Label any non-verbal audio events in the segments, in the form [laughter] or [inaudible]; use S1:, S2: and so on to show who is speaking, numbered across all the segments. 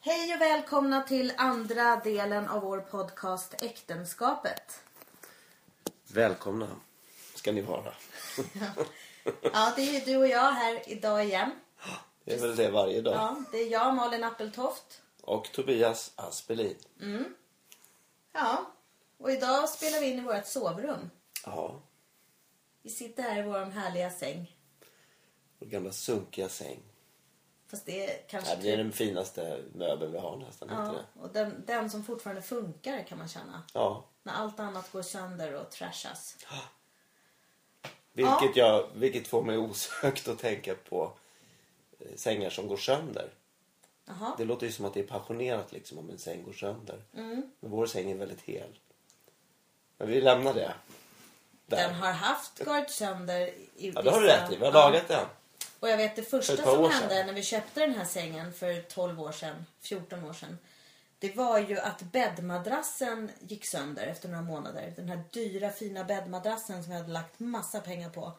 S1: Hej och välkomna till andra delen av vår podcast Äktenskapet.
S2: Välkomna ska ni vara.
S1: Ja, det är ju du och jag här idag igen.
S2: Det är väl det varje dag.
S1: Ja, det är jag, Malin Appeltoft.
S2: Och Tobias Aspelin.
S1: Ja, och idag spelar vi in i vårt sovrum.
S2: Ja,
S1: Vi sitter här i vår härliga säng.
S2: vår gamla sunkiga säng.
S1: Fast det är kanske...
S2: Ja, det är den finaste möbeln vi har nästan. Ja.
S1: ja,
S2: Det?
S1: och den, den som fortfarande funkar kan man känna.
S2: ja.
S1: När allt annat går sönder och trashas.
S2: Vilket, Jag, vilket får mig osökt att tänka på eh, sängar som går sönder.
S1: Jaha.
S2: Det låter ju som att det är passionerat liksom om en säng går sönder.
S1: Mm.
S2: Men vår säng är väldigt hel. Men vi lämnar det. Där.
S1: Den har haft gått sönder i
S2: Ja, det har du
S1: vissa-
S2: rätt i. Vi har
S1: Ja.
S2: lagat den.
S1: Och jag vet det första
S2: För ett par
S1: som
S2: år
S1: hände
S2: sedan.
S1: när vi köpte den här sängen för 12 år sedan, 14 år sedan. Det var ju att bäddmadrassen gick sönder efter några månader. Den här dyra fina bäddmadrassen som jag hade lagt massa pengar på.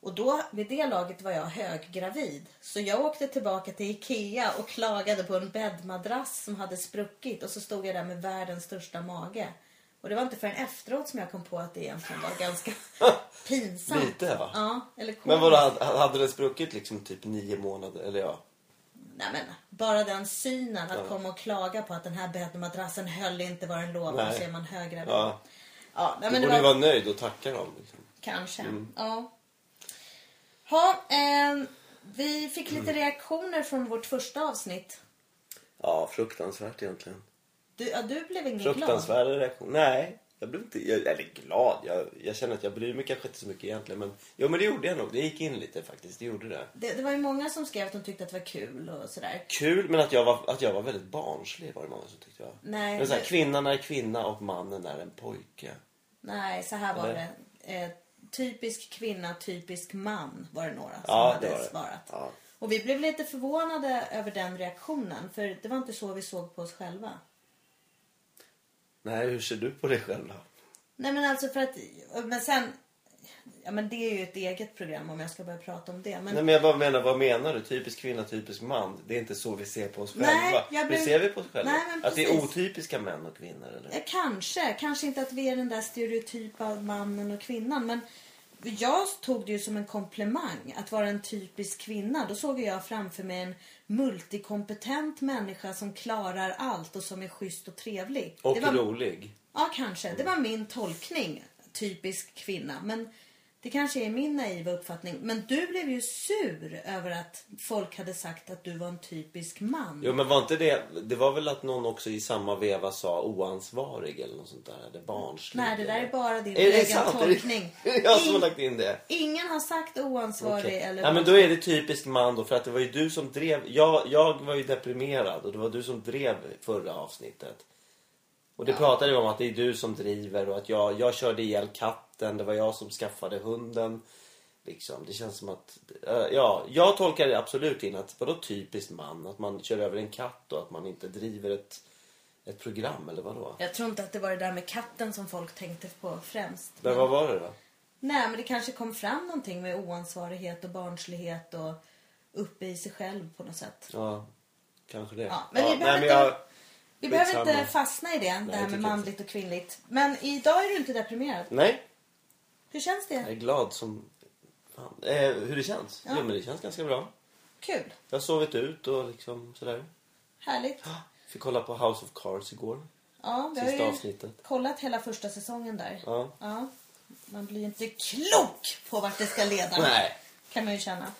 S1: Och då, vid det laget var jag höggravid. Så jag åkte tillbaka till Ikea och klagade på en bäddmadrass som hade spruckit. Och så stod jag där med världens största mage. Och det var inte förrän efteråt som jag kom på att det egentligen var
S2: [laughs]
S1: ganska pinsamt.
S2: Lite, va?
S1: Ja, eller
S2: Men vadå, hade- hade det spruckit liksom typ nio månader? Eller ja,
S1: Nej men, bara den synen att komma och klaga på att den här bäddmadrassen höll inte vad den lovade
S2: Nej.
S1: så är man höggravid.
S2: Ja.
S1: Ja, nej,
S2: Du
S1: men det
S2: borde
S1: var,
S2: ju vara nöjd och tacka dem. Liksom.
S1: kanske. Ja. Ha, ehm, vi fick lite
S2: Mm.
S1: reaktioner från vårt första avsnitt.
S2: Ja, fruktansvärt egentligen.
S1: Du, ja, du blev ingen glad.
S2: Fruktansvärda reaktioner. Nej, jag blev inte... Jag, eller glad. Jag, jag känner att jag bryr mig kanske inte så mycket egentligen. Men, jo, men det gjorde jag nog. Det gick in lite faktiskt. Det gjorde det.
S1: Det, det var ju många som skrev att de tyckte att det var kul och sådär.
S2: Kul, men att jag var, att jag var väldigt barnslig var det många som tyckte. Jag.
S1: Nej,
S2: men så här,
S1: det-
S2: kvinnan är kvinna och mannen är en pojke.
S1: Nej, så här var
S2: Eller?
S1: det. Eh, typisk kvinna, typisk man var det några som
S2: Ja, det
S1: hade
S2: var det.
S1: svarat.
S2: Ja.
S1: Och vi blev lite förvånade över den reaktionen. För det var inte så vi såg på oss själva.
S2: Nej, hur ser du på det själv då?
S1: Nej men alltså för att... Men sen... Ja men det är ju ett eget program om jag ska börja prata om det. Men
S2: Nej, men jag bara menar, vad menar du? Typisk kvinna, typisk man. Det är inte så vi ser på oss
S1: Nej,
S2: själva.
S1: jag
S2: Hur
S1: blev-
S2: ser vi på oss själva?
S1: Nej, men
S2: att det är
S1: precis.
S2: otypiska män och kvinnor eller?
S1: eh, kanske. Kanske inte att vi är den där stereotypa mannen och kvinnan. Men jag tog det ju som en komplimang att vara en typisk kvinna. Då såg jag framför mig en multikompetent människa som klarar allt och som är schysst och trevlig.
S2: Och
S1: det var
S2: rolig.
S1: Ja, kanske. Det var min tolkning. Typisk kvinna. Men det kanske är min naiva uppfattning. Men du blev ju sur över att folk hade sagt att du var en typisk man.
S2: Jo men var inte det, det var väl att någon också i samma veva sa oansvarig eller något sånt där, eller barnslig.
S1: Nej, det där är
S2: eller-
S1: bara din
S2: Är det
S1: egen
S2: sant?
S1: tolkning.
S2: Är det [laughs] jag som har
S1: In-
S2: lagt in det?
S1: Ingen har sagt oansvarig
S2: Okej.
S1: eller...
S2: Nej men då är det typiskt man då för att det var ju du som drev, jag, jag var ju deprimerad och det var du som drev förra avsnittet. Och det pratade vi om att det är du som driver och att jag, jag körde ihjäl katten, det var jag som skaffade hunden. Liksom, det känns som att, eh, ja, jag tolkar det absolut in att, vadå typiskt man? Att man kör över en katt och att man inte driver ett, ett program eller vadå?
S1: Jag tror inte att det var det där med katten som folk tänkte på främst.
S2: Men vad var det då?
S1: Nej, men det kanske kom fram någonting med oansvarighet och barnslighet och uppe i sig själv på något sätt.
S2: Ja, kanske det.
S1: Ja, men vi behöver
S2: nej, men
S1: inte- Vi behöver
S2: Skitsamma.
S1: inte fastna i det, det här
S2: tycker
S1: med
S2: jag
S1: manligt och kvinnligt. Men idag är du inte deprimerad.
S2: nej,
S1: Hur känns det?
S2: Jag är glad som fan. Eh, hur det känns?
S1: Ja.
S2: Jo men det känns ganska bra.
S1: Kul.
S2: Jag har sovit ut och liksom sådär.
S1: Härligt.
S2: Fick kolla på House of Cards igår.
S1: Ja, vi har
S2: Sista
S1: ju
S2: avsnittet.
S1: kollat hela första säsongen där.
S2: Ja.
S1: Man blir ju inte klok på vart det ska leda.
S2: [laughs] Nej.
S1: Kan man ju känna.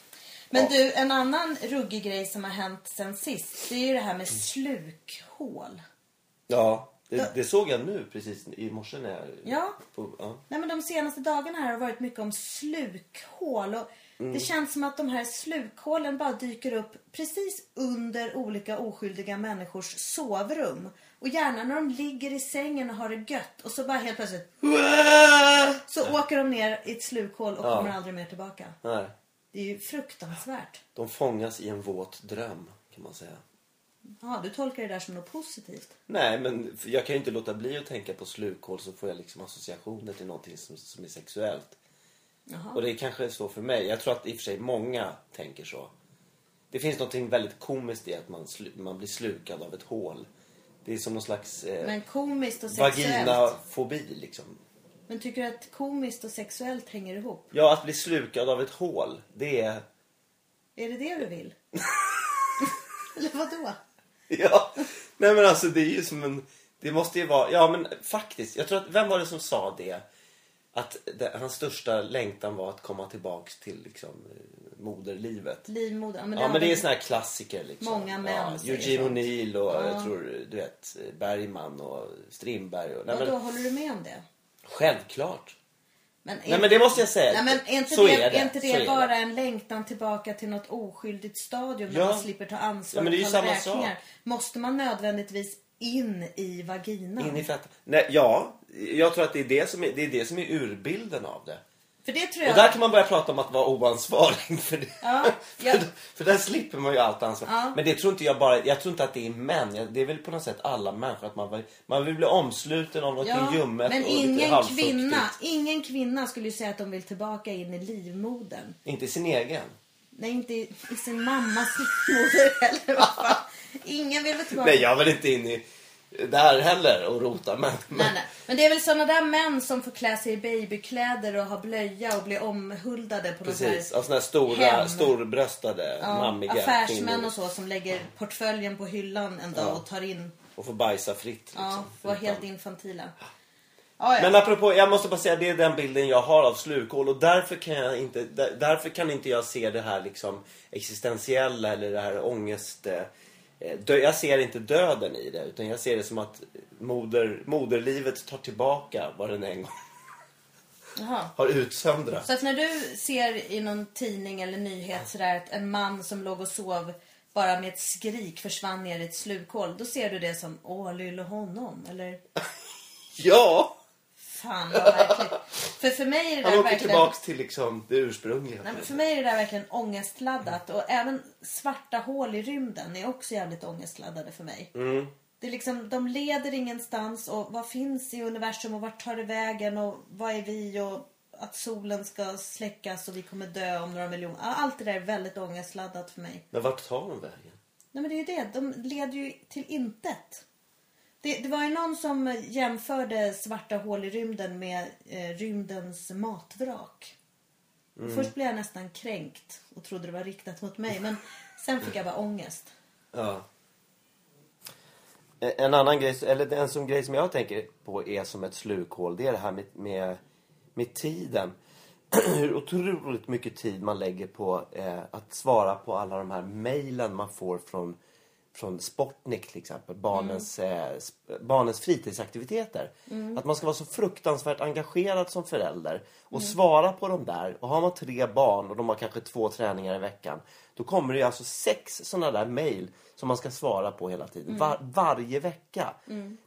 S1: Men du, en annan ruggig grej som har hänt sen sist. Det är ju det här med slukhål.
S2: Ja. Det, det såg jag nu precis i morse när jag...
S1: Ja.
S2: På, ja.
S1: Nej, men de senaste dagarna här har varit mycket om slukhål. Och
S2: Mm.
S1: Det känns som att de här slukhålen bara dyker upp precis under olika oskyldiga människors sovrum. Och gärna när de ligger i sängen och har det gött och så bara helt plötsligt så åker de ner i ett slukhål och
S2: Ja.
S1: kommer aldrig mer tillbaka.
S2: Nej.
S1: Det är ju fruktansvärt.
S2: De fångas i en våt dröm kan man säga.
S1: Ja, du tolkar det där som något positivt.
S2: Nej men för jag kan ju inte låta bli att tänka på slukhål så får jag liksom associationer till någonting som, som är sexuellt.
S1: Jaha.
S2: Och det är kanske är så för mig. Jag tror att i och för sig många tänker så. Det finns något väldigt komiskt i att man, slu- man blir slukad av ett hål. Det är som någon slags eh,
S1: Men komiskt och sexuellt.
S2: vaginafobi liksom.
S1: Men tycker du att komiskt och sexuellt hänger ihop?
S2: Ja, att bli slukad av ett hål, det är...
S1: Är det det du
S2: [laughs]
S1: vill? Eller vadå?
S2: Ja, nej men alltså det är ju som en... Det måste ju vara... Ja men faktiskt, jag tror att... Vem var det som sa det? Att det, hans största längtan var att komma tillbaks till liksom eh, moderlivet.
S1: Livmoder. Ja, men,
S2: Ja
S1: har
S2: men det
S1: vi-
S2: är såna här klassiker liksom.
S1: Många män
S2: ja,
S1: säger
S2: Eugene
S1: sånt.
S2: O'Neill och
S1: Ja.
S2: jag tror, eh, du vet, Bergman och Strindberg och... Nej,
S1: Vadå,
S2: men,
S1: håller du med om det?
S2: självklart.
S1: Men är,
S2: Nej men det måste jag säga.
S1: Nej, men är inte
S2: så
S1: det,
S2: är det.
S1: Är inte
S2: så är
S1: det
S2: det.
S1: bara en längtan tillbaka till något oskyldigt stadium där
S2: Ja.
S1: man slipper ta ansvar
S2: Ja, men det är ju
S1: och betala
S2: samma
S1: räkningar?
S2: sak.
S1: Måste man nödvändigtvis in i vaginan?
S2: In i fettan. Nej, ja, jag tror att det är det som är, det är, det som är urbilden av det.
S1: För det tror jag...
S2: Och där kan man börja prata om att vara oansvarig. [laughs] För, det.
S1: Ja, ja.
S2: för, för där slipper man ju allt ansvar.
S1: Ja.
S2: Men det tror inte jag bara, jag tror inte att det är män. Jag- Det är väl på något sätt alla människor. Att man, vill- man vill bli omsluten av något ljummet
S1: men
S2: och lite
S1: ingen
S2: halvfuktigt.
S1: kvinna, ingen kvinna skulle ju säga att de vill tillbaka in i livmodern.
S2: Inte sin egen.
S1: Nej, inte i, i sin mammas livmoder heller. vad fan. Ingen vill väl tillbaka.
S2: Nej, jag vill inte in i där heller och rota. Men, men,
S1: Nej, nej. Men det är väl såna där män som får klä sig i babykläder och ha blöja och bli omhuldade på något
S2: [laughs] precis.
S1: här
S2: Av såna här stora,
S1: Hem.
S2: storbröstade, mammiga
S1: affärsmän
S2: kvinnor.
S1: och så som lägger portföljen på hyllan en dag och tar in,
S2: Och får bajsa fritt. Liksom,
S1: ja, var
S2: Utan-
S1: helt infantila. Ja, ja.
S2: Men apropå, jag måste bara säga det är den bilden jag har av slukhål och därför kan jag inte, där, därför kan inte jag se det här liksom existentiella eller det här ångest... Eh, dö, jag ser inte döden i det utan jag ser det som att moder, moderlivet tar tillbaka vad den en gång
S1: Jaha.
S2: har utsöndrat.
S1: Så att när du ser i någon tidning eller nyhet sådär att en man som låg och sov bara med ett skrik försvann ner i ett slukhål, då ser du det som åh, lille honom, eller
S2: Ja!
S1: fan vad verkligt. För för mig är det
S2: Han
S1: där
S2: åker
S1: verkligen...
S2: tillbaks till liksom det ursprungliga.
S1: Nej, men för mig är det där verkligen ångestladdat och även svarta hål i rymden är också jävligt ångestladdade för mig. Det är liksom, de leder ingenstans och vad finns i universum och vart tar det vägen och vad är vi och att solen ska släckas och vi kommer dö om några miljoner. Ja, Allt det där är väldigt ångestladdat för mig.
S2: Men vart tar de vägen?
S1: Nej men det är ju det, de leder ju till intet. Det, det var ju någon som jämförde svarta hål i rymden med eh, rymdens matvrak. Och Först blev jag nästan kränkt och trodde det var riktat mot mig men sen fick jag bara ångest.
S2: Ja. En- En annan grej, eller en som grej som jag tänker på är som ett slukhål, det är det här med, med, med tiden. [clears throat] Hur otroligt mycket tid man lägger på eh, att svara på alla de här mejlen man får från, från Sportnik till exempel, barnens, eh, sp- barnens fritidsaktiviteter. Att man ska vara så fruktansvärt engagerad som förälder och svara på dem där. Och har man tre barn och de har kanske två träningar i veckan, då kommer det ju alltså sex sådana där mejl som man ska svara på hela tiden. Var, varje vecka.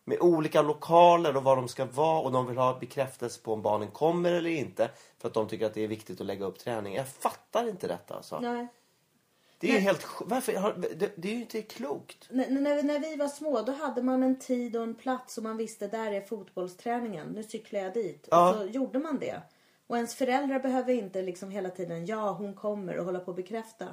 S2: Med olika lokaler och var de ska vara och de vill ha bekräftelse på om barnen kommer eller inte. För att de tycker att det är viktigt att lägga upp träning. Jag fattar inte detta alltså.
S1: Nej.
S2: Det är ju helt sj- Varför? har- Det, det är ju inte klokt.
S1: När, när, när vi var små då hade man en tid och en plats och man visste där är fotbollsträningen, nu cyklar jag dit.
S2: Ja.
S1: Och så gjorde man det. Och ens föräldrar behöver inte liksom hela tiden, ja hon kommer och hålla på och bekräfta.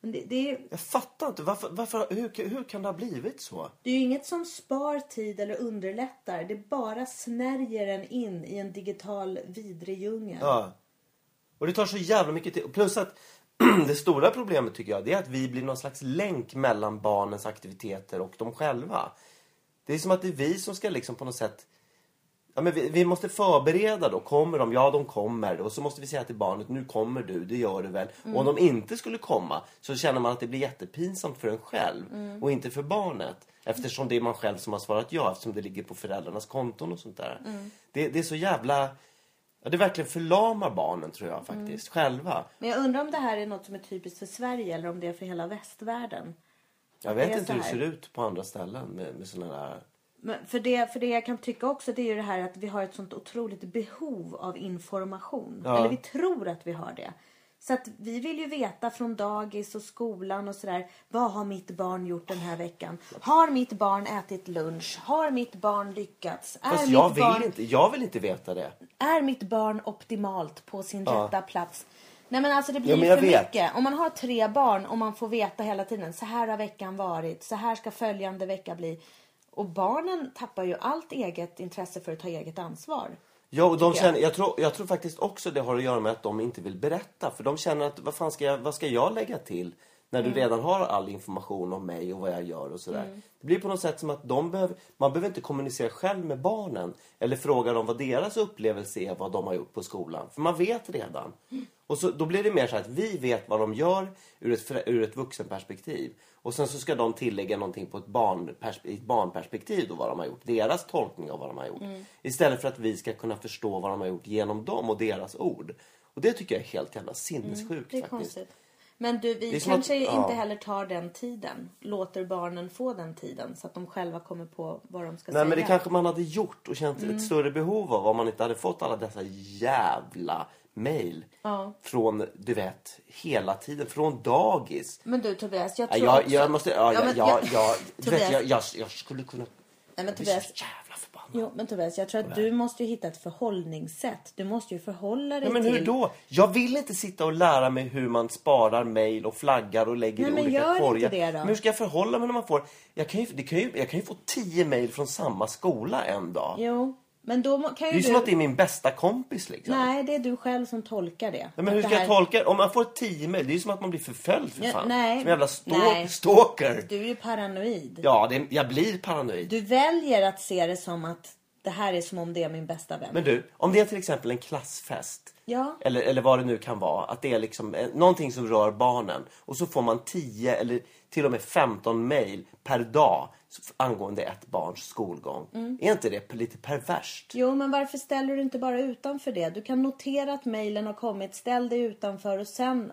S1: Men det, det är
S2: Jag fattar inte. Varför, varför, hur, hur kan det ha blivit så?
S1: Det är ju inget som spar tid eller underlättar. Det bara snärjer en in i en digital vidrig djungel.
S2: Ja. Och det tar så jävla mycket tid. Plus att [clears throat] det stora problemet tycker jag det är att vi blir någon slags länk mellan barnens aktiviteter och dem själva. Det är som att det är vi som ska liksom på något sätt Ja, men vi, vi måste förbereda då. Kommer de? Ja, de kommer. Och så måste vi säga till barnet, nu kommer du, det gör du väl. Och om de inte skulle komma så känner man att det blir jättepinsamt för en själv och inte för barnet. Eftersom det är man själv som har svarat ja, eftersom det ligger på föräldrarnas konton och sånt där.
S1: Mm.
S2: Det, det är så jävla... Ja, det verkligen förlamar barnen tror jag faktiskt,
S1: Mm.
S2: själva.
S1: Men jag undrar om det här är något som är typiskt för Sverige eller om det är för hela västvärlden.
S2: Jag
S1: Det
S2: vet
S1: är
S2: inte hur
S1: så
S2: det
S1: här.
S2: ser ut på andra ställen med, med såna där...
S1: Men för, det, för det jag kan tycka också det är ju det här att vi har ett sånt otroligt behov av information.
S2: Ja.
S1: Eller vi tror att vi har det. Så att vi vill ju veta från dagis och skolan och sådär. Vad har mitt barn gjort den här veckan? Har mitt barn ätit lunch? Har mitt barn lyckats? Är
S2: Fast
S1: mitt
S2: jag vill,
S1: barn...
S2: inte, jag vill inte veta det.
S1: Är mitt barn optimalt på sin
S2: Ja.
S1: rätta plats? Nej men alltså det blir
S2: Ja, men jag
S1: för
S2: vet.
S1: mycket. Om man har tre barn och man får veta hela tiden så här har veckan varit, så här ska följande vecka bli. Och barnen tappar ju allt eget intresse för att ta eget ansvar.
S2: Ja, och de
S1: Tycker jag.
S2: känner, jag, tror, jag tror faktiskt också det har att göra med att de inte vill berätta. För de känner att vad fan ska jag, vad ska jag lägga till? När
S1: Mm.
S2: du redan har all information om mig och vad jag gör och sådär. Det blir på något sätt som att de behöver, man behöver inte kommunicera själv med barnen. Eller fråga dem vad deras upplevelse är, vad de har gjort på skolan. För man vet redan.
S1: Mm.
S2: Och så, då blir det mer så att vi vet vad de gör ur ett, förä- ur ett vuxenperspektiv. Och sen så ska de tillägga någonting på ett, barnpers, i ett barnperspektiv då vad de har gjort. Deras tolkning av vad de har gjort.
S1: Mm.
S2: Istället för att vi ska kunna förstå vad de har gjort genom dem och deras ord. Och det tycker jag är helt jävla sinnessjukt
S1: Mm, Det är
S2: faktiskt.
S1: konstigt. Men du, vi
S2: Det är som
S1: kanske
S2: att- ja.
S1: inte heller tar den tiden. Låter barnen få den tiden så att de själva kommer på vad de ska
S2: Nej
S1: säga. Mm.
S2: men det kanske man hade gjort och känt ett större behov av om man inte hade fått alla dessa jävla mejl.
S1: Ja.
S2: Från, du vet, hela tiden. Från dagis.
S1: Men du Tobias, jag
S2: Ja,
S1: tror
S2: jag,
S1: också...
S2: jag måste... Ja, ja,
S1: men-
S2: ja, ja, du
S1: Tobias,
S2: vet, jag, jag, jag skulle kunna...
S1: Nej, men
S2: jag blir så
S1: Tobias-
S2: jävla förbannad.
S1: Jo, men Tobias, jag tror att du måste ju hitta ett förhållningssätt. Du måste ju förhålla dig
S2: Nej, men
S1: till...
S2: hur då? Jag vill inte sitta och lära mig hur man sparar mejl och flaggar och lägger
S1: Nej,
S2: i
S1: men
S2: olika
S1: gör inte
S2: korgar.
S1: det då.
S2: Men hur ska jag förhålla mig när man får... Jag kan ju, det kan ju, jag kan ju få tio mejl från samma skola en dag.
S1: Jo, men då må- kan
S2: det är
S1: ju
S2: ju
S1: du...
S2: som att det är min bästa kompis liksom.
S1: Nej, det är du själv som tolkar det.
S2: Nej, men hur
S1: Att
S2: ska
S1: det
S2: jag
S1: här-
S2: tolka det? Om man får tio mejl, det är ju som att man blir förföljd för
S1: Ja,
S2: fan.
S1: nej.
S2: Som en jävla stalk-
S1: Nej.
S2: stalker.
S1: Du är ju paranoid.
S2: Ja, det, jag blir paranoid.
S1: Du väljer att se det som att det här är som om det är min bästa vän.
S2: Men du, om det är till exempel en klassfest.
S1: Ja.
S2: Eller, eller vad det nu kan vara. Att det är liksom eh, någonting som rör barnen. Och så får man 10 eller till och med 15 mejl per dag s- angående ett barns skolgång.
S1: Mm.
S2: Är inte det p- lite perverst?
S1: Jo, men varför ställer du inte bara utanför det? Du kan notera att mejlen har kommit, ställ dig utanför och sen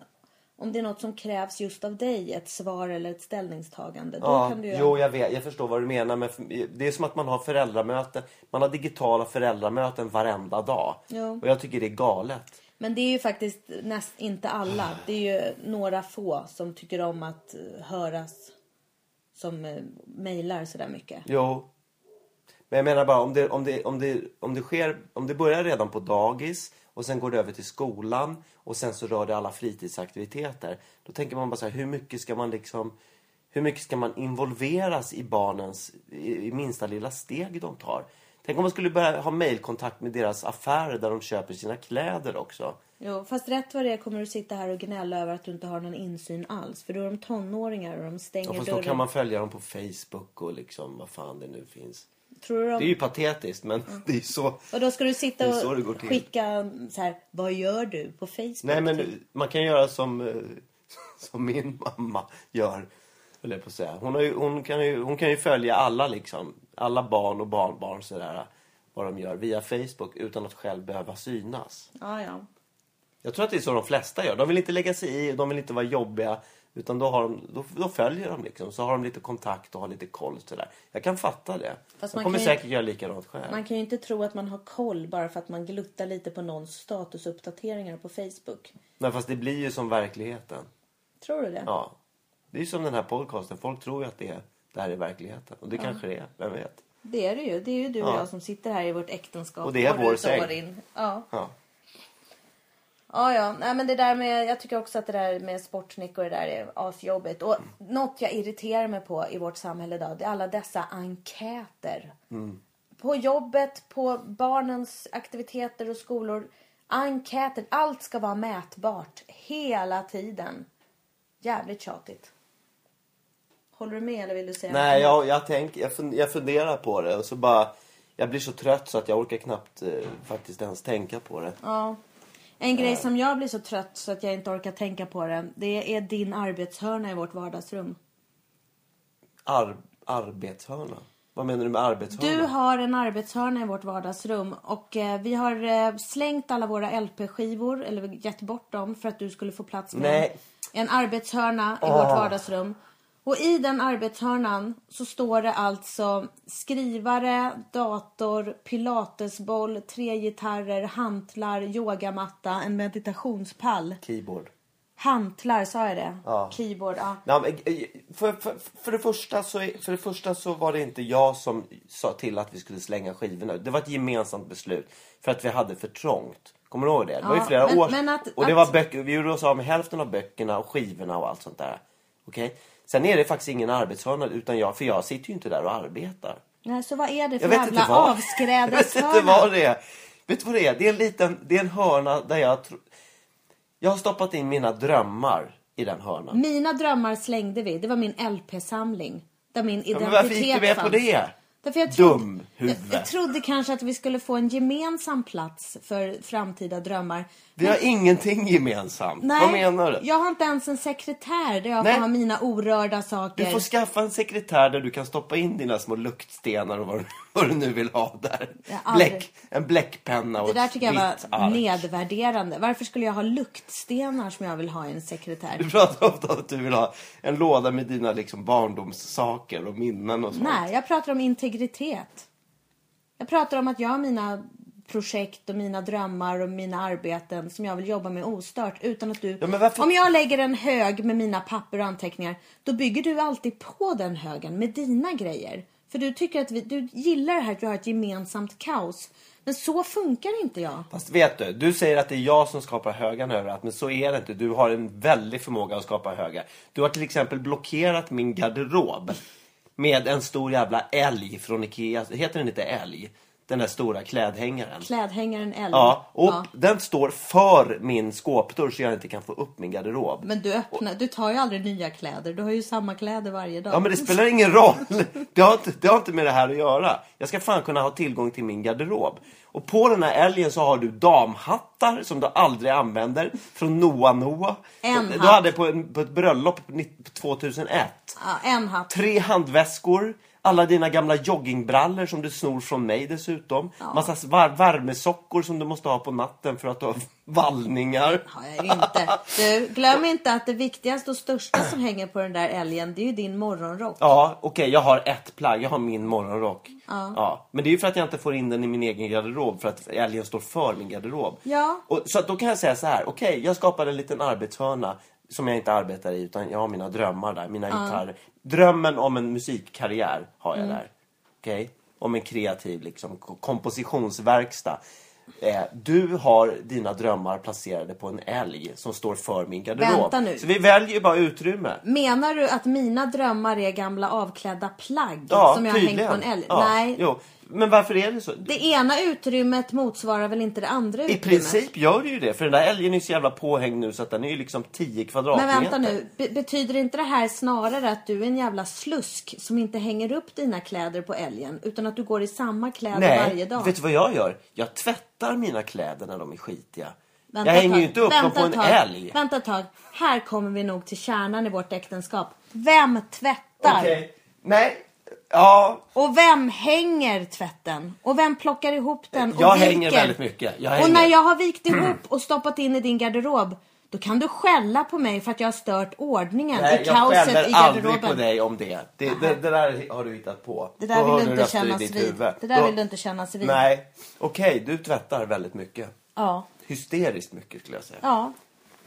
S1: om det är något som krävs just av dig, ett svar eller ett ställningstagande, då
S2: Ja,
S1: kan du göra...
S2: jo, jag, vet, jag förstår vad du menar. Men f- det är som att man har föräldramöten. Man har digitala föräldramöten varenda dag.
S1: Jo.
S2: Och jag tycker det är galet.
S1: Men det är ju faktiskt näst inte alla. Det är ju några få som tycker om att eh, höras som eh, mejlar sådär mycket.
S2: Jo. Men jag menar bara om det, om det, om det, om det, sker, om det börjar redan på dagis och sen går det över till skolan och sen så rör det alla fritidsaktiviteter. Då tänker man bara så här, hur mycket ska man liksom hur mycket ska man involveras i barnens i, i minsta lilla steg de tar? Tänk om man skulle börja ha mejlkontakt med deras affärer där de köper sina kläder också.
S1: Jo, fast rätt vad det är kommer du sitta här och gnälla över att du inte har någon insyn alls. För då är de tonåringar och de stänger
S2: Ja, fast då
S1: dörren.
S2: kan man följa dem på Facebook och liksom vad fan det nu finns.
S1: Tror du de...
S2: Det är ju patetiskt men det är ju så
S1: Och då ska du
S2: Det
S1: sitta
S2: är så det går
S1: och
S2: till.
S1: skicka så här, vad gör du på Facebook? typ.
S2: Nej
S1: till-
S2: men man kan göra som, eh, [laughs] som min mamma gör. Höll jag på att säga. Hon, har ju, hon, kan ju, hon kan ju följa alla liksom. Alla barn och barnbarn sådär. Vad de gör via Facebook utan att själv behöva synas.
S1: Ja, ja.
S2: Jag tror att det är så de flesta gör. De vill inte lägga sig i, de vill inte vara jobbiga. Utan då, har de, då, då följer de liksom. Så har de lite kontakt och har lite koll sådär. Jag kan fatta det.
S1: Fast man
S2: jag kommer
S1: kan ju-
S2: säkert göra likadant själv.
S1: Man kan ju inte tro att man har koll bara för att man gluttar lite på någons statusuppdateringar på Facebook.
S2: Men fast det blir ju som verkligheten.
S1: Tror du det?
S2: Ja. Det är ju som den här podcasten. Folk tror ju att det, är, det här är verkligheten. Och det kanske det är. Vem vet?
S1: Det är det ju. Det är ju du och
S2: Ja.
S1: jag som sitter här i vårt äktenskap.
S2: Och det är
S1: år
S2: vår
S1: ut och
S2: säng.
S1: år in. Ja.
S2: Ja.
S1: Ja, ja. Nej, men det där med, jag tycker också att det där med sportsnick och det där är asjobbigt. Och något jag irriterar mig på i vårt samhälle idag, det är alla dessa enkäter. På jobbet, på barnens aktiviteter och skolor. Enkäter. Allt ska vara mätbart hela tiden. Jävligt tjatigt. Håller du med eller vill du säga
S2: Nej,
S1: något?
S2: jag, jag, tänk, jag, fun- jag funderar på det. Och så bara, jag blir så trött så att jag orkar knappt eh, faktiskt ens tänka på det.
S1: Ja. En grej som jag blir så trött så att jag inte orkar tänka på den. Det är din arbetshörna i vårt vardagsrum.
S2: Ar, arbetshörna. Vad menar du med arbetshörna?
S1: Du har en arbetshörna i vårt vardagsrum och eh, vi har eh, slängt alla våra LP-skivor eller gett bort dem för att du skulle få plats med
S2: Nej.
S1: en arbetshörna i
S2: Åh.
S1: vårt vardagsrum. Och i den arbetshörnan så står det alltså skrivare, dator, pilatesboll, tre gitarrer, hantlar, yogamatta, en meditationspall.
S2: Keyboard.
S1: Hantlar, sa jag det?
S2: Ja.
S1: Keyboard, ja.
S2: Nej, men, eh, för, för, för, det första så, är- för det första så var det inte jag som sa till att vi skulle slänga skivorna. Det var ett gemensamt beslut för att vi hade för trångt. Kommer du ihåg det? Det var ju
S1: Ja,
S2: flera
S1: men-
S2: år
S1: men att-
S2: Och det
S1: att-
S2: var böcker, vi gjorde oss av med hälften av böckerna och skivorna och allt sånt där. Okej? Sen är det faktiskt ingen arbetshörna utan jag, för jag sitter ju inte där och arbetar.
S1: Nej, så vad är det för
S2: Jag vet inte
S1: jävla
S2: vad. [laughs] Jag vet inte vad
S1: avskrädeshörna?
S2: det är. Vet du vad det är? Det är en liten, det är en hörna där jag tror... Jag har stoppat in mina drömmar i den hörnan.
S1: Mina drömmar slängde vi. Det var min LP-samling. Där min identitet
S2: Ja, men varför gick du med på
S1: fanns.
S2: det?
S1: Därför jag trodde,
S2: Dum huvud.
S1: Jag, jag trodde kanske att vi skulle få en gemensam plats för framtida drömmar.
S2: Vi har ingenting gemensamt.
S1: Nej,
S2: vad menar du?
S1: Jag har inte ens en sekretär där jag
S2: Nej.
S1: får ha mina orörda
S2: Du
S1: saker.
S2: får skaffa en sekretär där du kan stoppa in dina små luktstenar och vad, du- [laughs] vad du nu vill ha där.
S1: Jag har aldrig-
S2: Bläck, en bläckpenna och
S1: Det där
S2: ett
S1: tycker jag var
S2: vitt ark.
S1: nedvärderande. Varför skulle jag ha luktstenar som jag vill ha i en
S2: Du
S1: sekretär?
S2: pratar ofta om att du vill ha en låda med dina liksom barndomssaker och minnen och sånt.
S1: Nej, jag pratar om integritet. Jag pratar om att jag har mina projekt och mina drömmar och mina arbeten som jag vill jobba med ostört utan att du...
S2: Ja, men varför-
S1: Om jag lägger en hög med mina papper och anteckningar då bygger du alltid på den högen med dina grejer. För du tycker att vi... du gillar det här att vi har ett gemensamt kaos. Men så funkar inte jag.
S2: Fast vet du, du säger att det är jag som skapar högar överallt, men så är det inte. Du har en väldig förmåga att skapa högar. Du har till exempel blockerat min garderob med en stor jävla älg från Ikea. Heter den inte älg? Den där stora klädhängaren.
S1: Klädhängaren L.
S2: Ja, och
S1: Ja.
S2: den står för min skåpdörr så jag inte kan få upp min garderob.
S1: Men du öppnar, du tar ju aldrig nya kläder. Du har ju samma kläder varje dag.
S2: Ja, men det spelar ingen roll. Det har, inte, det har inte med det här att göra. Jag ska fan kunna ha tillgång till min garderob. Och på den här älgen så har du damhattar som du aldrig använder. Från Noa Noa.
S1: En
S2: du
S1: hatt.
S2: hade på, en, på ett bröllop på nitt- på 2001.
S1: Ja, en hatt.
S2: Tre handväskor. Alla dina gamla joggingbrallor som du snor från mig dessutom. Massa var- värmesockor som du måste ha på natten för att du har vallningar.
S1: har jag inte. Du, glöm inte att det viktigaste och största som hänger på den där älgen, det är ju din morgonrock.
S2: Ja, okej, jag har ett plagg. Jag har min morgonrock. Ja. Men det är ju för att jag inte får in den i min egen garderob, för att älgen står för min garderob.
S1: Ja.
S2: Och, så att då kan jag säga så här, okej, jag skapade en liten arbetshörna som jag inte arbetar i, utan jag har mina drömmar där, mina gitarrer. Drömmen om en musikkarriär har jag
S1: Mm.
S2: där. Okej? Om en kreativ liksom, k- kompositionsverkstad. Eh, du har dina drömmar placerade på en älg som står för min garderob.
S1: Vänta nu.
S2: Så vi väljer ju bara utrymme.
S1: Menar du att mina drömmar är gamla avklädda plagg som jag har hängt
S2: tydligen.
S1: på en älg?
S2: Ja,
S1: Nej.
S2: Jo. Men varför är det så?
S1: Det ena utrymmet motsvarar väl inte det andra
S2: I
S1: utrymmet?
S2: princip gör det ju det, för den där älgen är ju så jävla påhängd nu så att den är ju liksom 10
S1: Men
S2: kvadratmeter.
S1: vänta nu, be- betyder inte det här snarare att du är en jävla slusk som inte hänger upp dina kläder på älgen utan att du går i samma kläder varje
S2: Nej,
S1: dag?
S2: vet du vad jag gör? Jag tvättar mina kläder när de är skitiga.
S1: Vänta
S2: jag
S1: ett
S2: hänger ju
S1: tag.
S2: inte upp dem
S1: Vänta
S2: på
S1: ett
S2: en
S1: tag.
S2: älg.
S1: Vänta ett tag. Här kommer vi nog till kärnan i vårt äktenskap. Vem tvättar?
S2: Okej. Nej. Ja,
S1: Och vem hänger tvätten? Och vem plockar ihop den och
S2: jag
S1: viker?
S2: hänger väldigt mycket. Jag hänger.
S1: Och när jag har vikt ihop och stoppat in i din garderob då kan du skälla på mig för att jag har stört ordningen
S2: Nej,
S1: i
S2: jag
S1: kaoset i
S2: skäller aldrig på
S1: garderoben.
S2: dig om det. Det, det. det där har du hittat på.
S1: Det där
S2: Då hör
S1: vill du inte
S2: röster i
S1: kännas
S2: ditt
S1: vid.
S2: huvud.
S1: Det där
S2: Då-
S1: vill du inte kännas vid.
S2: Nej, okej, du tvättar väldigt mycket.
S1: Ja.
S2: Hysteriskt mycket skulle jag säga.
S1: Ja.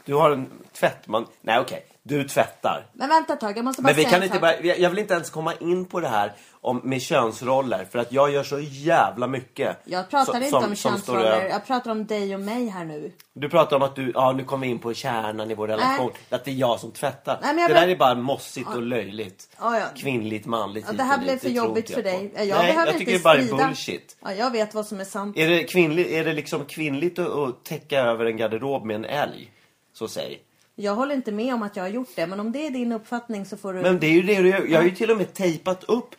S2: Du har en tvättman... Nej okej, du tvättar.
S1: Men vänta ett tag, jag måste bara
S2: Men vi
S1: säga
S2: kan
S1: en
S2: inte
S1: sak.
S2: börja, jag vill inte ens komma in på det här om, med könsroller för att jag gör så jävla mycket.
S1: Jag pratar
S2: som-
S1: inte
S2: som-
S1: om
S2: som står
S1: könsroller,
S2: över.
S1: jag pratar om dig och mig här nu.
S2: Du pratar om att du, ja nu kommer vi in på kärnan i vår relation. Att det är jag som tvättar.
S1: Nej, men jag
S2: det
S1: bara-
S2: där är bara mossigt och löjligt.
S1: Ja, ja.
S2: Kvinnligt, manligt.
S1: Ja,
S2: hit
S1: det här
S2: och dit.
S1: blev för
S2: tror
S1: jobbigt
S2: inte
S1: för dig.
S2: på.
S1: Jag
S2: Nej,
S1: behöver
S2: jag
S1: inte
S2: tycker det bara är
S1: strida.
S2: bullshit.
S1: Ja, jag vet vad som är sant.
S2: Är det, kvinnlig, är det liksom kvinnligt att, att täcka över en garderob med en älg? Så säg.
S1: Jag håller inte med om att jag har gjort det, men om det är din uppfattning så får du...
S2: Men det är ju det du gör. Jag har ju till och med tejpat upp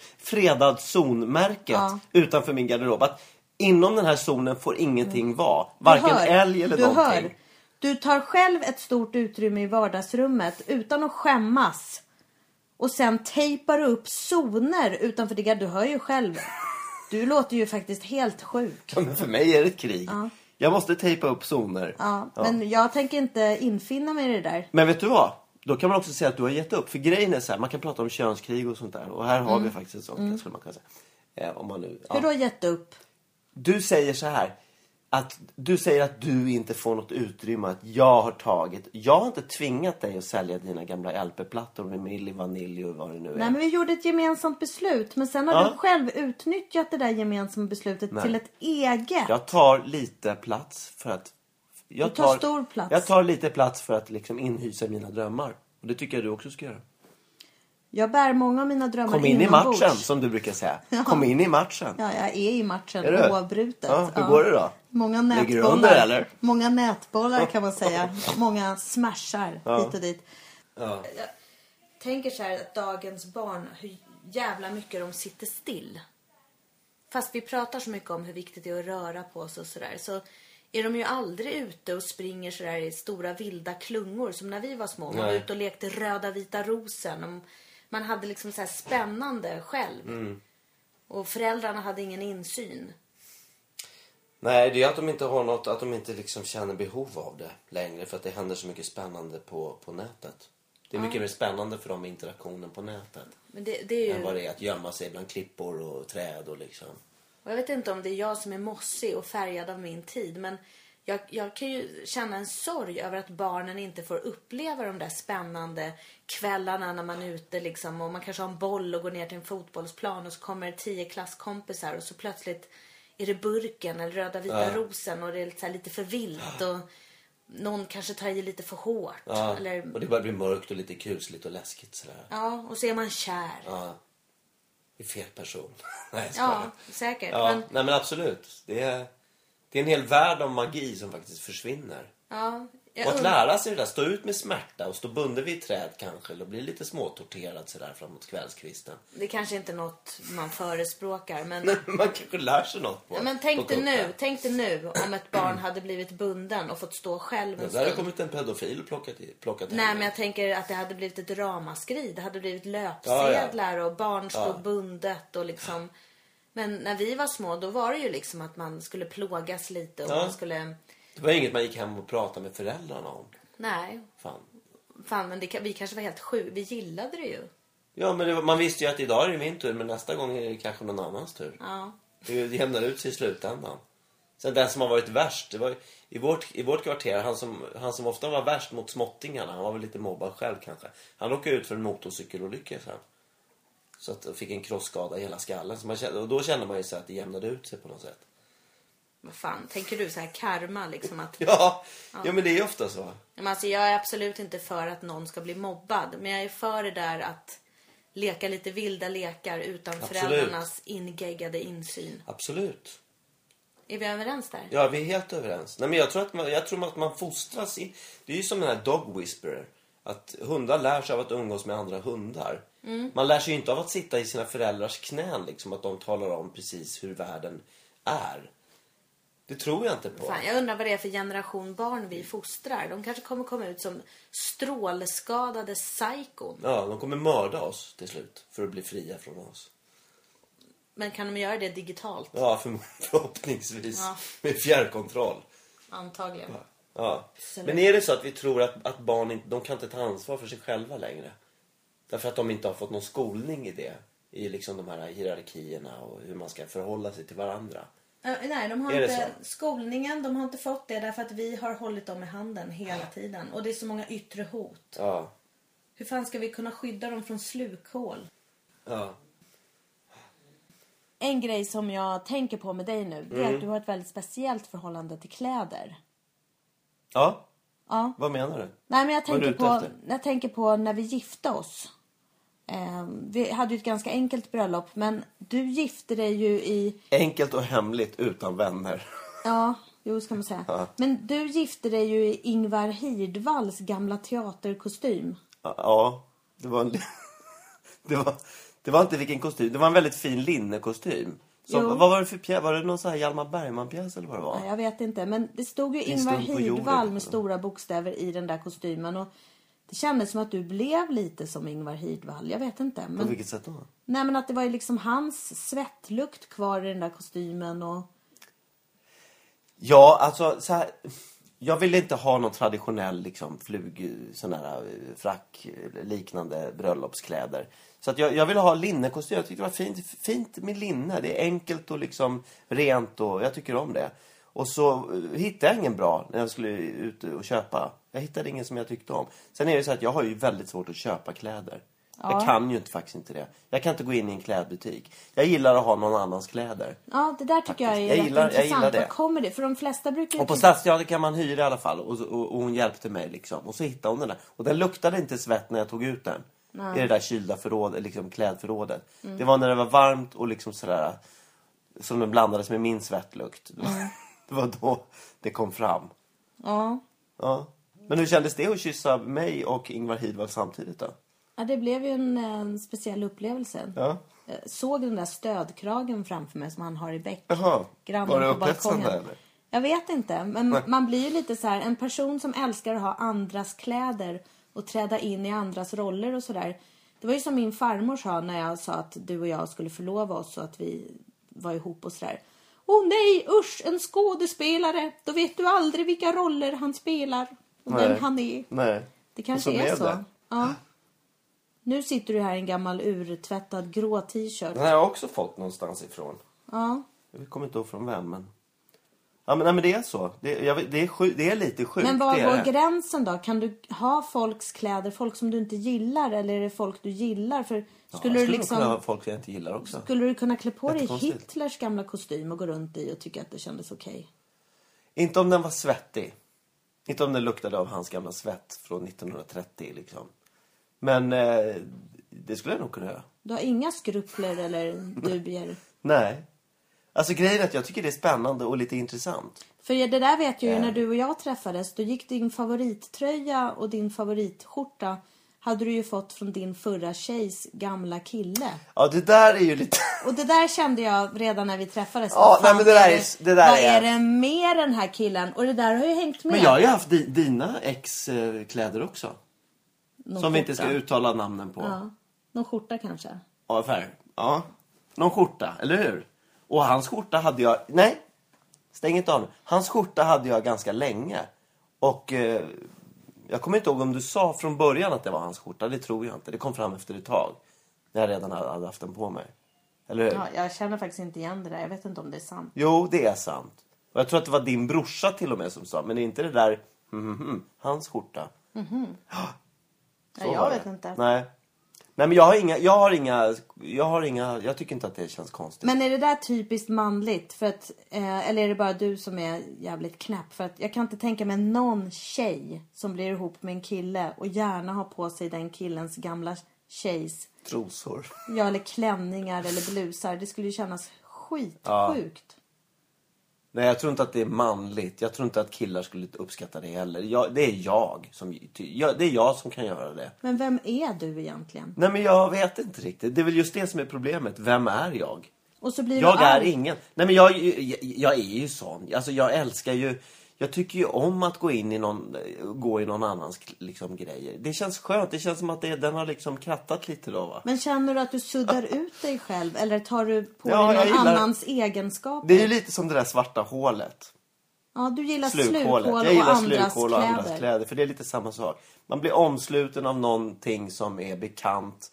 S2: fredadzonmärket
S1: Ja.
S2: utanför min garderob. Att inom den här zonen får ingenting vara. Varken älg eller
S1: Mm. du
S2: någonting.
S1: Hör. Du tar själv ett stort utrymme i vardagsrummet utan att skämmas. Och sen tejpar du upp zoner utanför det. Du hör ju själv. Du låter ju faktiskt helt sjuk.
S2: Ja, Men för mig är det ett krig. Jag måste tejpa upp zoner.
S1: Ja,
S2: Ja.
S1: Men jag tänker inte infinna mig i det där.
S2: Men vet du vad? Då kan man också säga att du har gett upp. För grejen är så här, man kan prata om könskrig och sånt där. Och här har vi
S1: Mm.
S2: faktiskt ett sånt. där, Skulle man kunna säga. Eh, om man nu, ja.
S1: Hur då gett upp?
S2: Du säger så här. Att du säger att du inte får något utrymme, att jag har tagit. Jag har inte tvingat dig att sälja dina gamla LP-plattor med Milli Vanilli och vad det nu är.
S1: Nej, men vi gjorde ett gemensamt beslut. Men sen har
S2: Ja.
S1: du själv utnyttjat det där gemensamma beslutet
S2: Nej.
S1: till ett eget.
S2: Jag tar lite plats för att jag
S1: Du tar stor plats.
S2: Jag tar lite plats för att liksom inhysa mina drömmar. Och det tycker jag du också ska göra.
S1: Jag bär många av mina drömmar
S2: Kom in i
S1: inombords.
S2: matchen som du brukar säga.
S1: [laughs] Ja.
S2: Kom in i matchen.
S1: Ja, jag är i matchen
S2: Är du?
S1: oavbrutet.
S2: Ja, hur går det då?
S1: Många
S2: Ligger du
S1: nätbollar,
S2: under, eller?
S1: Många nätbollar kan man
S2: [laughs]
S1: säga. Många smashar
S2: Ja.
S1: hit och dit.
S2: Ja.
S1: Jag tänker så här att dagens barn, hur jävla mycket de sitter still. Fast vi pratar så mycket om hur viktigt det är att röra på sig och sådär. Så är de ju aldrig ute och springer sådär i stora vilda klungor som när vi var små. Man var
S2: Nej.
S1: ute och lekte röda vita rosen. Och man hade liksom så här spännande själv.
S2: Mm.
S1: Och föräldrarna hade ingen insyn.
S2: Nej, det är att de inte har något, att de inte liksom känner behov av det längre för att det händer så mycket spännande på, på nätet. Det är mycket mer spännande för dem med interaktionen på nätet
S1: Men det, det är
S2: än vad
S1: ju...
S2: det är att gömma sig bland klippor och träd och liksom.
S1: Och jag vet inte om det är jag som är mossig och färgad av min tid, men jag, jag kan ju känna en sorg över att barnen inte får uppleva de där spännande kvällarna när man är ute liksom, och man kanske har en boll och går ner till en fotbollsplan och så kommer det tio klasskompisar och så plötsligt är det burken eller röda vita
S2: Ja.
S1: rosen och det är lite, så här, lite för vilt och någon kanske tar i lite för hårt.
S2: Ja,
S1: Eller,
S2: Och det börjar bli mörkt och lite kusligt och läskigt sådär.
S1: ja, och så är man kär. Ja,
S2: Ja. I fel person. [laughs] Nej, jag skojar.
S1: säkert.
S2: Ja,
S1: Men,
S2: nej men absolut. Det är, det är en hel värld av magi som faktiskt försvinner.
S1: ja, jag
S2: Och att
S1: undrar-
S2: lära sig det där, stå ut med smärta och stå bunden vid ett träd kanske eller bli lite småtorterad sådär framåt kvällskvisten.
S1: Det kanske inte är något man förespråkar, men,
S2: [laughs] Man kanske lär sig något på
S1: Ja, men
S2: på
S1: tänk dig
S2: kuppen.
S1: nu, tänk dig nu om ett barn hade blivit bunden och fått stå själv en
S2: Men där har
S1: stund.
S2: kommit en pedofil och plockat, i- plockat
S1: Nej,
S2: henne.
S1: men jag tänker att det hade blivit ett ramaskri. Det hade blivit löpsedlar och barn stod
S2: Ja.
S1: bundet och liksom. Men när vi var små, då var det ju liksom att man skulle plågas lite och
S2: Ja.
S1: man skulle...
S2: Det var inget man gick hem och pratade med föräldrarna om.
S1: Nej,
S2: Fan.
S1: fan, men det, kan- vi kanske var helt sju. Vi gillade det ju.
S2: Ja, men det var, man visste ju att idag är det min tur men nästa gång är det kanske någon annans tur.
S1: Ja.
S2: Det jämnar ut sig i slutändan. Sen den som har varit värst, det var ju- i vårt, i vårt kvarter, han som, han som ofta var värst mot småttingarna, han var väl lite mobbad själv kanske. Han åkte ut för en motorcykelolycka sen. Så att, och fick en krossskada i hela skallen. Så man kände, och då kände man ju så att det jämnade ut sig på något sätt.
S1: Vad fan, tänker du så här karma liksom att
S2: [laughs] Ja, ja. men det är ju ofta så.
S1: Men alltså, jag är absolut inte för att någon ska bli mobbad. Men jag är för det där att leka lite vilda lekar utan
S2: Absolut.
S1: föräldrarnas ingeggade insyn.
S2: Absolut.
S1: Är vi överens där?
S2: Ja, vi är helt överens. Nej, men jag tror att man, jag tror att man fostras in. Det är ju som den här dog whisperer. Att hundar lär sig av att umgås med andra hundar.
S1: Mm.
S2: Man lär sig ju inte av att sitta i sina föräldrars knän. Liksom, att de talar om precis hur världen är. Det tror jag inte på.
S1: Fan, jag undrar vad det är för generation barn vi fostrar. De kanske kommer komma ut som strålskadade psykon.
S2: Ja, de kommer mörda oss till slut för att bli fria från oss.
S1: Men kan de göra det digitalt?
S2: Ja, för, förhoppningsvis.
S1: Ja.
S2: Med fjärrkontroll.
S1: Antagligen.
S2: Ja.
S1: Absolut.
S2: Men är det så att vi tror att, att barn inte, de kan inte ta ansvar för sig själva längre? Därför att de inte har fått någon skolning i det. I liksom de här hierarkierna och hur man ska förhålla sig till varandra.
S1: Äh, Nej, de har
S2: Är det
S1: inte
S2: så?
S1: skolningen, de har inte fått det därför att vi har hållit dem i handen hela tiden. Och det är så många yttre hot.
S2: Ja.
S1: Hur fan ska vi kunna skydda dem från slukhål?
S2: ja.
S1: En grej som jag tänker på med dig nu, det är att
S2: Mm.
S1: du har ett väldigt speciellt förhållande till kläder.
S2: Ja,
S1: Ja.
S2: vad menar du?
S1: Nej, men jag
S2: Vad är du
S1: tänker,
S2: ute
S1: på,
S2: efter?
S1: jag tänker på när vi gifte oss. Eh, vi hade ju ett ganska enkelt bröllop, men du gifte dig ju i...
S2: Enkelt och hemligt utan vänner.
S1: Ja, jo ska man säga.
S2: Ja.
S1: Men du gifte dig ju i Ingvar Hirdvalls gamla teaterkostym.
S2: Ja, det var en... [laughs] det, var, det var inte vilken kostym. Det var en väldigt fin linnekostym. Som,
S1: Jo.
S2: vad var det för pjäs? Var det någon sån här Hjalmar Bergman-pjäs eller vad det var?
S1: Ja, jag vet inte, men det stod ju
S2: en
S1: Ingvar
S2: stund på jorden,
S1: Hirdvall med
S2: ja.
S1: stora bokstäver i den där kostymen. Och det kändes som att du blev lite som Ingvar Hirdvall. Jag vet inte.
S2: På
S1: Men...
S2: vilket sätt då?
S1: Nej men att det var ju liksom hans svettlukt kvar i den där kostymen och...
S2: Ja, alltså så här, Jag ville inte ha någon traditionell liksom, flug, sån här, eh, frack eh, liknande bröllopskläder. Så att jag, jag ville ha linnekostym. Jag tyckte det var fint, fint med linne. Det är enkelt och liksom rent och jag tycker om det. Och så eh, hittade jag ingen bra när jag skulle ut och köpa. Jag hittade ingen som jag tyckte om. Sen är det så att jag har ju väldigt svårt att köpa kläder. Jag
S1: Ja.
S2: kan ju inte, faktiskt inte det. Jag kan inte gå in i en klädbutik. Jag gillar att ha någon annans kläder.
S1: Ja, det där tycker jag är
S2: Jag
S1: rätt
S2: gillar- jag
S1: intressant.
S2: gillar det.
S1: Var kommer det? För de flesta brukar ju
S2: Och på
S1: tycka-
S2: Stadsteatern kan man hyra i alla fall. Och, så- och, och hon hjälpte mig liksom. Och så hittade hon den där. Och den luktade inte svett när jag tog ut den. I det där kylda förråd, liksom klädförrådet. Det var när det var varmt och liksom sådär. Som den blandades med min svettlukt. [laughs] Det var,
S1: Mm.
S2: det var då det kom fram.
S1: ja.
S2: Ja. Men hur kändes det att kyssa mig och Ingvar Hidvall samtidigt då?
S1: ja, det blev ju en, en speciell upplevelse.
S2: Ja.
S1: Eh, Såg den där stödkragen framför mig som han har i bäck.
S2: Jaha.
S1: grannen
S2: Var det
S1: på balkongen.
S2: upphetsande eller?
S1: Jag vet inte, men
S2: Nej.
S1: man blir ju lite så här, en person som älskar att ha andras kläder och träda in i andras roller och sådär. Det var ju som min farmor sa när jag sa att du och jag skulle förlova oss och att vi var ihop och sådär. Åh nej, usch, en skådespelare! Då vet du aldrig vilka roller han spelar och vem
S2: Nej.
S1: han är.
S2: Nej.
S1: Det
S2: Och
S1: kanske är
S2: blev
S1: så.
S2: det.
S1: Ja. Nu sitter du här i en gammal urtvättad grå t-shirt.
S2: Den har jag också fått någonstans ifrån.
S1: Ja.
S2: Jag kommer inte ihåg från vem men... Ja men, nej, men det är så. Det, jag, vet- det, är sju, det är lite sjukt.
S1: Men var
S2: det är
S1: går
S2: det.
S1: gränsen då? Kan du ha folks kläder, folk som du inte gillar eller är det folk du gillar? För
S2: Ja,
S1: skulle,
S2: jag
S1: du
S2: nog kunna ha
S1: liksom,
S2: folk jag inte gillar också.
S1: skulle du kunna klä på dig
S2: Jättekonstigt.
S1: Hitlers gamla kostym och gå runt i och tycka att det kändes okej?
S2: Inte om den var svettig. Inte om den luktade av hans gamla svett från 1930 liksom. Men eh, det skulle jag nog kunna göra.
S1: Du har inga skrupler
S2: [laughs]
S1: eller dubier?
S2: Nej. Alltså grejen är att jag tycker det är spännande och lite intressant.
S1: För det där vet jag ju
S2: Nej.
S1: när du och jag träffades. Då gick din favorittröja och din favoritskjorta hade du ju fått från din förra tjejs gamla kille.
S2: Ja det där är ju lite... [laughs]
S1: Och det där kände jag redan när vi träffades.
S2: Ja,
S1: Vad fan
S2: nej, men det där är- det där
S1: vad
S2: är-
S1: är det med den här killen? Och det där har ju hängt med.
S2: Men jag har ju haft di- dina ex eh, kläder också.
S1: Någon
S2: Som vi inte ska
S1: skjorta.
S2: uttala namnen på.
S1: Ja. Någon skjorta kanske?
S2: Ja, färg. Ja. Någon skjorta, eller hur? Och hans skjorta hade jag... Nej! Stäng inte av nu. Hans skjorta hade jag ganska länge. Och eh, jag kommer inte ihåg om du sa från början att det var hans skjorta. Det tror jag inte. Det kom fram efter ett tag. När jag redan hade hade haft den på mig. Eller hur?
S1: Ja, jag känner faktiskt inte igen det där. Jag vet inte om det är sant.
S2: Jo, det är sant. Och jag tror att det var din brorsa till och med som sa. Men är inte det där... mhm, mhm, hans skjorta. Så
S1: Ja,
S2: var
S1: jag
S2: det.
S1: vet inte.
S2: Nej. Nej men jag har inga, jag har inga, jag har inga, jag tycker inte att det känns konstigt.
S1: Men är det där typiskt manligt? För att, eh, eller är det bara du som är jävligt knäpp? För att jag kan inte tänka mig någon tjej som blir ihop med en kille och gärna har på sig den killens gamla tjejs
S2: Trosor.
S1: ja, eller klänningar eller blusar. Det skulle ju kännas skitsjukt.
S2: Nej, jag tror inte att det är manligt. Jag tror inte att killar skulle uppskatta det heller. Jag, det är jag som ty- jag, det är jag som kan göra det.
S1: Men vem är du egentligen?
S2: Nej, men jag vet inte riktigt. Det är väl just det som är problemet. Vem är jag?
S1: Och så blir
S2: Jag
S1: du
S2: är
S1: arg.
S2: ingen. Nej, men jag, jag, jag är ju sån. Alltså, jag älskar ju... Jag tycker ju om att gå in i någon, gå i någon annans liksom, grejer. Det känns skönt. Det känns som att det, den har liksom krattat lite då. Va?
S1: Men känner du att du suddar ut dig själv eller tar du på
S2: Ja, jag
S1: dig någon
S2: gillar-
S1: annans egenskaper?
S2: Det är ju lite som det där svarta hålet.
S1: Ja, du gillar
S2: slukhålet.
S1: slukhål och,
S2: Jag gillar
S1: andras,
S2: slukhål och
S1: kläder.
S2: andras kläder. För det är lite samma sak. Man blir omsluten av någonting som är bekant.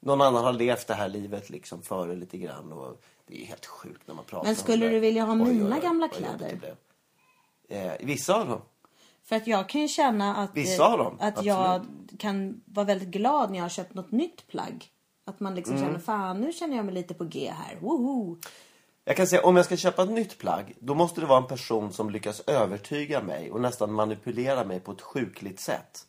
S2: Någon annan har levt det här livet liksom före lite grann. Och det är helt sjukt när man pratar
S1: Men
S2: om
S1: skulle
S2: det.
S1: du vilja ha
S2: Oj, oj,
S1: mina
S2: oj,
S1: gamla
S2: vad jobbigt det
S1: kläder?
S2: blev. Eh, vissa av dem.
S1: För att jag kan ju känna att, eh,
S2: Vissa av dem,
S1: att jag kan vara väldigt glad när jag har köpt något nytt plagg. Att man
S2: Mm.
S1: liksom känner, fan nu känner jag mig lite på G här. Woho!
S2: Jag kan säga om jag ska köpa ett nytt plagg. Då måste det vara en person som lyckas övertyga mig. Och nästan manipulera mig på ett sjukligt sätt.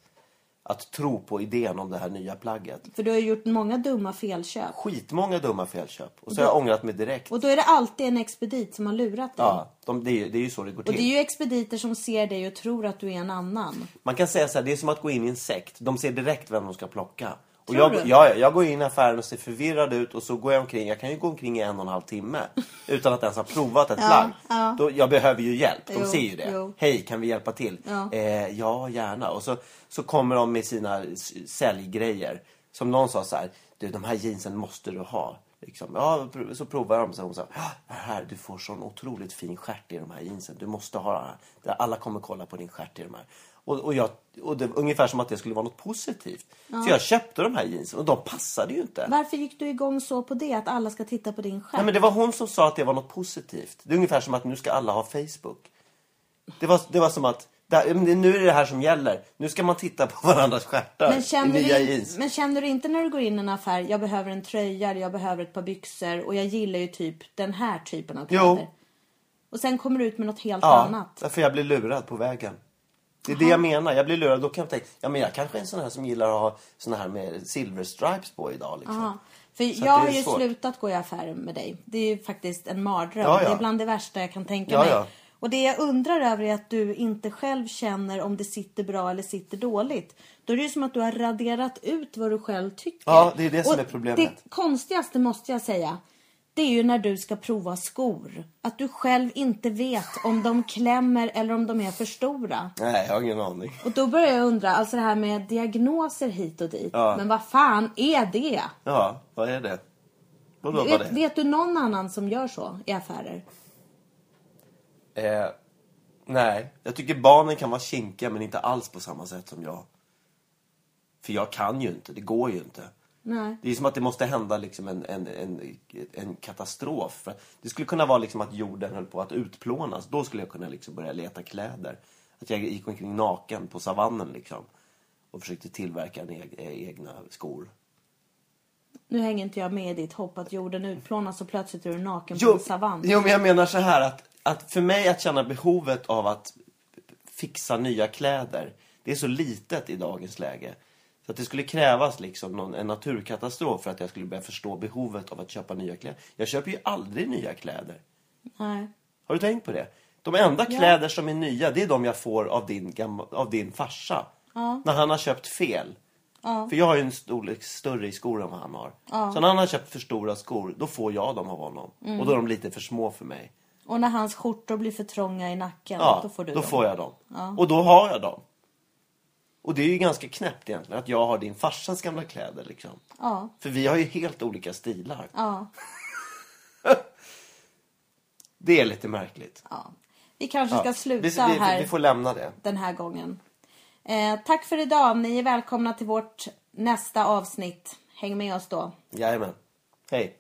S2: Att tro på idén om det här nya plagget.
S1: För du har ju gjort många dumma felköp.
S2: Skitmånga dumma felköp. Och så har jag
S1: Mm.
S2: ångrat mig direkt.
S1: Och då är det alltid en expedit som har lurat dig.
S2: Ja, de, det, är ju, det är ju så det går
S1: Och
S2: till.
S1: det är ju expediter som ser dig och tror att du är en annan.
S2: Man kan säga så här, det är som att gå in i en sekt. De ser direkt vem de ska plocka. Och
S1: Tror
S2: jag,
S1: du?
S2: ja, ja, jag går in i affären och ser förvirrad ut och så går jag omkring. Jag kan ju gå omkring i en och en
S1: [laughs]
S2: halv timme utan att ens ha provat ett plagg.
S1: ja.
S2: Då, jag behöver ju hjälp. De
S1: Jo,
S2: ser ju det.
S1: jo.
S2: Hej, kan vi hjälpa till?
S1: Ja.
S2: Eh, ja, gärna. Och så, så kommer de med sina s- säljgrejer. Som någon sa så här, du de här jeansen måste du ha. Liksom. Ja, pr- så provar de. Så hon sa, "Ah, här, du får sån otroligt fin stjärt i de här jeansen. Du måste ha den här. Där Alla kommer kolla på din stjärt i de här. Och, och, jag, och det, ungefär som att det skulle vara något positivt. Så jag köpte de här jeansen och de passade ju inte.
S1: Varför gick du igång så på det? Att alla ska titta på din
S2: Nej,
S1: skärm?
S2: men det var hon som sa att det var något positivt. Det är ungefär som att nu ska alla ha Facebook. Det var, det var som att Där, ja, men det- nu är det det här som gäller. Nu ska man titta på varandras stjärtar
S1: Men känner,
S2: i nya
S1: du,
S2: jeans.
S1: men känner du inte när du går in i en affär, jag behöver en tröja, eller jag behöver ett par byxor och jag gillar ju typ den här typen av kläder.
S2: Jo.
S1: Och sen kommer du ut med något helt
S2: Ja,
S1: annat.
S2: därför jag blir lurad på vägen. Det är det jag menar. Jag blir lurad. Då kan jag tänka, ja men jag kanske är en sån här som gillar att ha såna här med silver stripes på idag liksom.
S1: Ja. För
S2: Så
S1: jag
S2: att det är
S1: har ju
S2: svårt.
S1: slutat gå i affärer med dig. Det är ju faktiskt en mardröm.
S2: Ja, ja.
S1: Det är bland det värsta jag kan tänka
S2: Ja,
S1: mig.
S2: ja.
S1: Och det jag undrar över är att du inte själv känner om det sitter bra eller sitter dåligt. Då är det ju som att du har raderat ut vad du själv tycker.
S2: Ja, det är det som
S1: Och
S2: är problemet.
S1: Det konstigaste måste jag säga. Det är ju när du ska prova skor. Att du själv inte vet om de klämmer eller om de är för stora.
S2: Nej, jag har ingen aning.
S1: Och då börjar jag undra, alltså det här med diagnoser hit och dit.
S2: Ja.
S1: Men vad fan är det?
S2: Ja, vad är det? Vadå vad
S1: Vet,
S2: det
S1: vet du någon annan som gör så i affärer?
S2: är? Eh, nej, jag tycker barnen kan vara kinkiga men inte alls på samma sätt som jag. För jag kan ju inte, det går ju inte.
S1: Nej.
S2: Det är som att det måste hända liksom en, en, en, en katastrof. För att Det skulle kunna vara liksom att jorden höll på att utplånas. Då skulle jag kunna liksom börja leta kläder. Att jag gick omkring naken på savannen liksom. Och försökte tillverka en eg, eh, egna skor.
S1: Nu hänger inte jag med i ditt hopp att jorden utplånas och plötsligt är du naken på
S2: Jo,
S1: en savann.
S2: jo men jag menar så här att, att för mig att känna behovet av att fixa nya kläder. Det är så litet i dagens läge. Så att det skulle krävas liksom någon, en naturkatastrof för att jag skulle börja förstå behovet av att köpa nya kläder. Jag köper ju aldrig nya kläder.
S1: Nej.
S2: Har du tänkt på det? De enda kläder som är nya, det är de jag får av din, gamla, av din farsa.
S1: Ja.
S2: När han har köpt fel. För jag har ju en storlek större i skor än vad han har. Så när han har köpt för stora skor, då får jag dem av honom.
S1: Mm.
S2: Och då är de lite för små för mig.
S1: Och när hans skjortor blir för trånga i nacken,
S2: Ja,
S1: då får du
S2: då
S1: dem.
S2: får jag dem. Och då har jag dem. Och det är ju ganska knäppt egentligen att jag har din farsas gamla kläder liksom.
S1: Ja.
S2: För vi har ju helt olika stilar.
S1: Ja.
S2: Det är lite märkligt.
S1: ja. Vi kanske ska
S2: Ja.
S1: sluta
S2: vi, vi,
S1: här
S2: vi får lämna det.
S1: den här gången. Eh, tack för idag. Ni är välkomna till vårt nästa avsnitt. Häng med oss då.
S2: Jajamän. Hej.